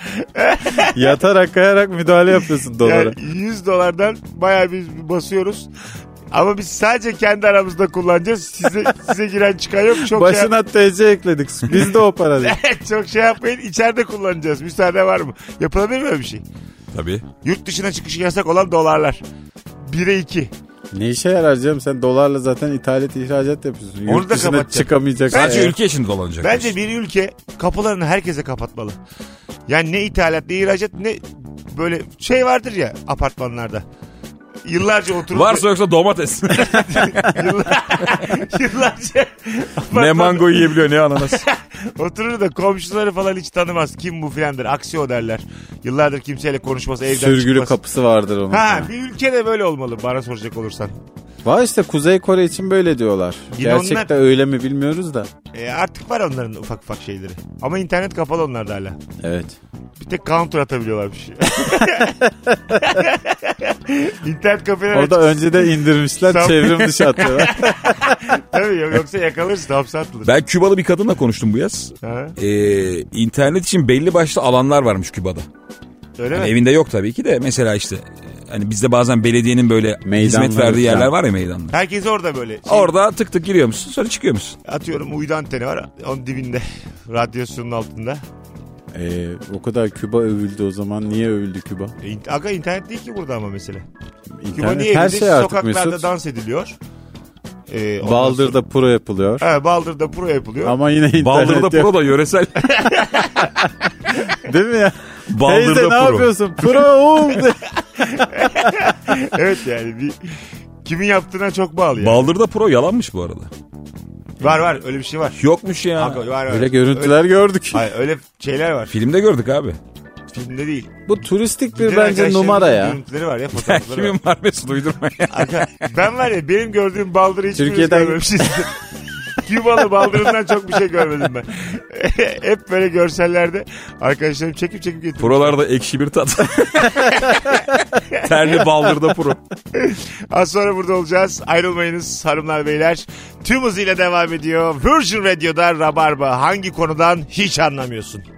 Speaker 3: Yatarak kayarak müdahale yapıyorsun dolara.
Speaker 2: Yani 100 dolardan bayağı biz basıyoruz. Ama biz sadece kendi aramızda kullanacağız. Size, size giren çıkan yok. Çok şey-
Speaker 3: Başına TC ekledik. Biz de o para değil.
Speaker 2: Çok şey yapmayın içeride kullanacağız. Müsaade var mı? Yapılabilir mi öyle bir şey?
Speaker 4: Tabii.
Speaker 2: Yurt dışına çıkışı yasak olan dolarlar. 1'e 2.
Speaker 3: Ne işe yarar canım? Sen dolarla zaten ithalat ihracat yapıyorsun.
Speaker 2: Onu
Speaker 3: Yurt
Speaker 2: da
Speaker 3: dışına
Speaker 2: kapatacak.
Speaker 3: çıkamayacak. e,
Speaker 4: Sadece
Speaker 3: Eğer-
Speaker 4: ülke içinde dolanacak.
Speaker 2: Bence bir ülke kapılarını herkese kapatmalı. Yani ne ithalat ne ihracat ne böyle şey vardır ya apartmanlarda. Yıllarca oturup
Speaker 4: Varsa yoksa domates.
Speaker 2: yıllar- yıllarca
Speaker 4: ne
Speaker 2: apartmanda
Speaker 4: mango yiyebiliyor ne ananas.
Speaker 2: oturur da komşuları falan hiç tanımaz. Kim bu filandır. Aksi o derler. Yıllardır kimseyle konuşmaz. Evden
Speaker 3: Sürgülü
Speaker 2: çıkmaz.
Speaker 3: kapısı vardır onun.
Speaker 2: Ha bir ülkede böyle olmalı bana soracak olursan.
Speaker 3: Var işte Kuzey Kore için böyle diyorlar.
Speaker 2: Yine
Speaker 3: Gerçekte
Speaker 2: onlar-
Speaker 3: öyle mi bilmiyoruz da.
Speaker 2: E, artık var onların ufak ufak şeyleri. Ama internet kapalı onlarda hala.
Speaker 3: Evet.
Speaker 2: Bir tek counter şey. atabiliyorlarmış. internet kafeler
Speaker 3: Orada
Speaker 2: açık.
Speaker 3: önce de
Speaker 2: Sen-
Speaker 3: indirmişler çevrim dışı atıyorlar.
Speaker 2: Tabii yok- yoksa yakalanırsın hapse atılır.
Speaker 4: Ben Kübalı bir kadınla konuştum bu yaz.
Speaker 2: Ha,
Speaker 4: Ee, internet için belli başlı alanlar varmış Küba'da.
Speaker 2: öyle mi?
Speaker 3: hani
Speaker 4: Yani Hani evinde yok tabii ki de mesela işte hani bizde bazen belediyenin böyle
Speaker 3: Meydanları
Speaker 4: hizmet verdiği
Speaker 3: falan.
Speaker 4: yerler var ya meydanlar.
Speaker 2: Herkes orada böyle. Şey,
Speaker 4: Orada tık tık giriyor musun sonra çıkıyor musun?
Speaker 2: Atıyorum uydu anteni var onun dibinde. Radyosunun altında.
Speaker 3: Ee, o kadar Küba övüldü o zaman. Niye övüldü Küba?
Speaker 2: E, in- aga internet değil ki burada ama mesele. Küba
Speaker 3: İnternet
Speaker 2: niye
Speaker 3: her
Speaker 2: evinde?
Speaker 3: şey artık
Speaker 2: Sokaklarda
Speaker 3: Mesut.
Speaker 2: dans ediliyor. E, ondan
Speaker 3: Baldır'da pro yapılıyor.
Speaker 2: sonra- Ha, Baldır'da pro yapılıyor.
Speaker 3: Ama yine internet
Speaker 4: Baldır'da
Speaker 3: yok.
Speaker 4: pro da yöresel.
Speaker 3: Değil mi ya?
Speaker 4: Baldır'da
Speaker 3: Teyze ne
Speaker 4: pro.
Speaker 3: yapıyorsun? Pro oğlum.
Speaker 2: evet yani bir... Kimin yaptığına çok bağlı yani.
Speaker 4: Baldır'da pro yalanmış bu arada.
Speaker 2: var var öyle bir şey var.
Speaker 4: Yokmuş ya.
Speaker 2: Aga, var, var.
Speaker 3: Öyle görüntüler gördük.
Speaker 2: Hayır öyle şeyler var.
Speaker 4: Filmde gördük abi.
Speaker 2: Filmde değil.
Speaker 3: Bu turistik
Speaker 2: Giden
Speaker 3: bir bence
Speaker 2: arkadaşlarımızın
Speaker 3: numara ya.
Speaker 2: Görüntüleri var ya
Speaker 4: Ya
Speaker 2: fotoğrafları var.
Speaker 4: Kimin var Mesut uydurma ya.
Speaker 2: Aga, ben var ya benim gördüğüm baldırı hiç
Speaker 3: Türkiye'den-
Speaker 2: görmemişiz. Kübalı baldırından çok bir şey görmedim ben. Hep böyle görsellerde arkadaşlarım çekip çekip getirmiş.
Speaker 4: Prolarda ekşi bir tat. Terli Baldır'da pro.
Speaker 2: Az sonra burada olacağız. Ayrılmayınız hanımlar beyler. Tüm hızıyla devam ediyor. Virgin Radio'da Rabarba hangi konudan hiç anlamıyorsun?